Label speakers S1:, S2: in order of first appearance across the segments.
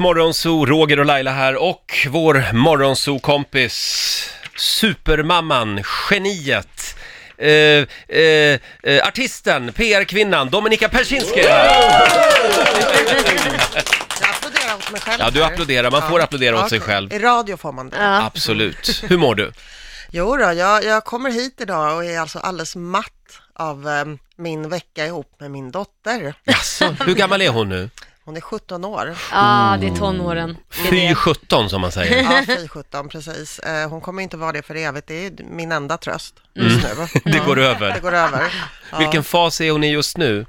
S1: Riksmorgonzoo, Roger och Laila här och vår morgonzoo-kompis supermamman, geniet, eh, eh, eh, artisten, PR-kvinnan Dominika Persinski är här.
S2: Jag applåderar åt mig själv.
S1: Ja, du
S2: här.
S1: applåderar. Man får applådera åt sig
S2: okej.
S1: själv.
S2: I radio får man det.
S1: Absolut. Hur mår du?
S2: Jo då, jag, jag kommer hit idag och är alltså alldeles matt av em, min vecka ihop med min dotter.
S1: Jaså, hur gammal är hon nu?
S2: Hon är 17 år.
S3: Ja, ah,
S1: Mm.
S3: det är tonåren. Det är
S1: Fy
S3: det.
S1: 17 som man säger.
S2: Ja, fy 17, precis. Eh, Hon kommer inte vara det för evigt. Det är min enda tröst just nu.
S1: Mm. Det går
S2: Det
S1: över.
S2: går över. Ja.
S1: Vilken fas är hon i just nu?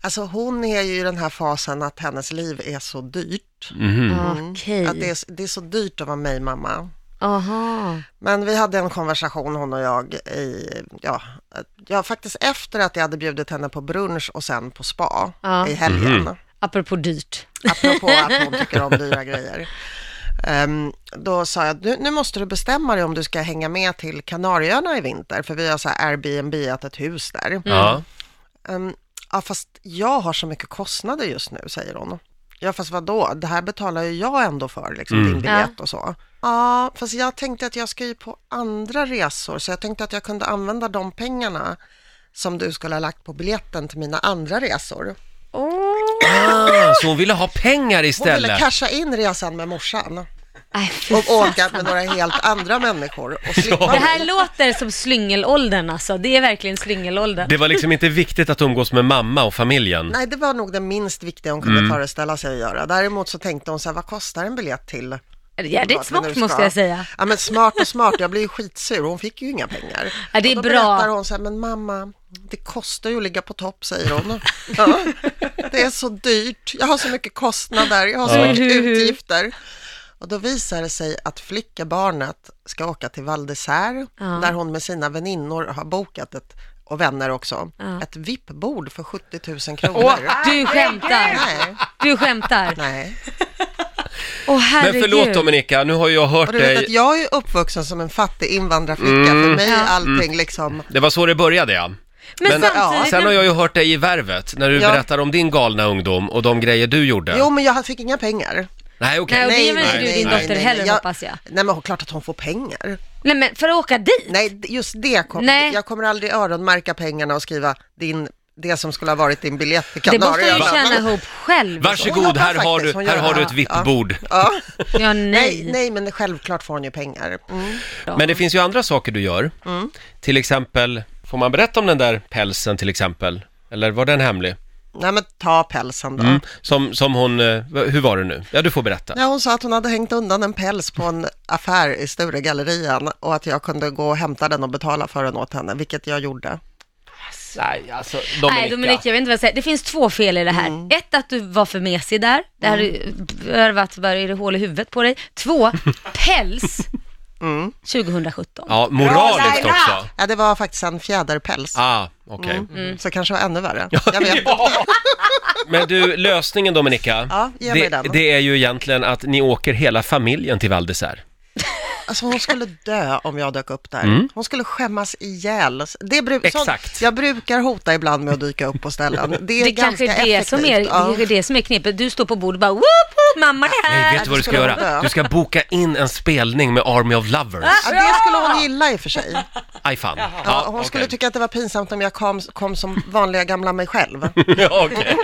S2: Alltså hon är ju i den här fasen att hennes liv är så dyrt.
S1: Mm.
S3: Ah, Okej.
S2: Att det är, det är så dyrt att vara mig mamma.
S3: Aha.
S2: Men vi hade en konversation hon och jag i, ja, ja faktiskt efter att jag hade bjudit henne på brunch och sen på spa
S3: Ja.
S2: i helgen.
S3: Apropå dyrt.
S2: Apropå att hon tycker om dyra grejer. Ehm, då sa jag, nu, nu måste du bestämma dig om du ska hänga med till Kanarieöarna i vinter, för vi har så här Airbnb-at ett hus där.
S1: Ja.
S2: Ehm, ja, fast jag har så mycket kostnader just nu, säger hon. Ja, fast vadå? Det här betalar ju jag ändå för, liksom, din biljett och så. Ja, fast jag tänkte att jag ska ju på andra resor, så jag tänkte att jag kunde använda de pengarna som du skulle ha lagt på biljetten till mina andra resor.
S1: Ah, så hon ville ha pengar
S2: Hon ville
S1: istället?
S2: casha in resan med morsan
S3: Nej, Äh, fy
S2: och
S3: fan.
S2: åka med några helt andra människor och slippa
S3: Det
S2: mig.
S3: här låter som slyngelåldern alltså. Det är verkligen slyngelåldern.
S1: Det var liksom inte viktigt att umgås med mamma och familjen?
S2: Nej, det var nog det minst viktiga hon kunde föreställa sig att göra. Däremot så tänkte hon så här, vad kostar en biljett till
S3: Det är jävligt
S2: Vart vi nu
S3: smart
S2: ska.
S3: måste jag säga.
S2: Ja men smart och smart, jag blir ju skitsur, hon fick ju inga pengar.
S3: Ja, det är
S2: och då
S3: bra.
S2: berättar hon så här, men mamma, det kostar ju att ligga på topp säger hon. Ja, det är så dyrt, jag har så mycket kostnader, jag har så
S1: Ja.
S2: mycket
S3: Hu, hu.
S2: utgifter. Och då visar det sig att flickabarnet ska åka till Val d'Isère, där hon med sina väninnor har bokat ett, och vänner också, ett VIP-bord för 70 000 kronor.
S3: Du skämtar.
S2: Nej,
S3: Du skämtar.
S2: nej.
S3: Åh
S1: Men
S3: herregud.
S1: förlåt Dominika, nu har ju jag hört
S2: Och du vet att
S1: dig.
S2: jag är uppvuxen som en fattig invandrarflicka, för mig är allting liksom
S1: Det var så det började ja.
S3: Men,
S1: Men-
S3: samtidigt,
S1: Sen har jag ju hört dig i Värvet när du
S2: Ja.
S1: berättar om din galna ungdom och de grejer du gjorde.
S2: Jo, men jag fick inga pengar.
S1: Nej, okej.
S3: Nej, och det är väl inte du din dotter heller,
S2: Jag-
S3: hoppas jag.
S2: Nej, men klart att hon får pengar.
S3: nej men för att åka dit.
S2: Nej, d- just det kom,
S3: Nej.
S2: Jag kommer aldrig öronmärka pengarna och skriva din, det som skulle ha varit din biljett till
S3: Det måste hon ju
S2: Kanarieöarna.
S3: tjäna ihop själv.
S2: Hon
S1: Varsågod,
S2: jobbar
S1: här har,
S2: faktiskt,
S1: du,
S2: hon
S1: här
S2: gör
S1: har
S2: det.
S1: du ett VIP-bord.
S2: Ja,
S3: Ja,
S2: nej,
S3: nej.
S2: nej, men självklart får hon ju pengar. Mm.
S1: Men det finns ju andra saker du gör. Till exempel, får man berätta om den där pälsen till exempel? Eller var den hemlig?
S2: Nej, men ta pälsen då.
S1: Mm. Som, som hon, eh, hur var det nu? Ja, du får berätta.
S2: Ja, hon sa att hon hade hängt undan en päls på en affär i Sturegallerian och att jag kunde gå och hämta den och betala för den åt henne, vilket jag gjorde.
S1: Nej, alltså
S3: Nej Dominika, jag vet inte vad jag säger. Det finns två fel i det här.
S2: Mm.
S3: Ett, att du var för mesig där. Det här är, varit, bara, är det hål i huvudet på dig? Två, päls
S2: Mm.
S3: 2017.
S1: Ja, moraliskt också.
S2: Ja, det var faktiskt en fjäderpäls,
S1: Ah, okej.
S3: Mm.
S2: så kanske det var ännu värre. Jag vet inte.
S1: Ja. Men du, lösningen Dominika,
S2: Ja, ge mig
S1: det,
S2: den.
S1: det är ju egentligen att ni åker hela familjen till Val d'Isère.
S2: Alltså hon skulle dö om jag dök upp där. Hon skulle skämmas ihjäl. Det bru- sånt-
S1: Mm. Exakt.
S2: jag brukar hota ibland med att dyka upp på ställen. Det är
S3: Det
S2: ganska
S3: kanske är det,
S2: effektivt.
S3: som är, det
S2: Ja.
S3: kanske är det som är knepet. Du står på bordet och bara, woop, woop, mamma är här.
S1: Nej, vet du vad du ska
S2: Äh, skulle hon
S1: göra?
S2: dö?
S1: Du ska boka in en spelning med Army of Lovers.
S2: Ja, det skulle hon gilla i och för sig.
S1: Aj fan. Ja,
S2: Ja, Äh. hon
S1: okej.
S2: skulle tycka att det var pinsamt om jag kom, kom som vanliga gamla mig själv.
S1: ja, okej.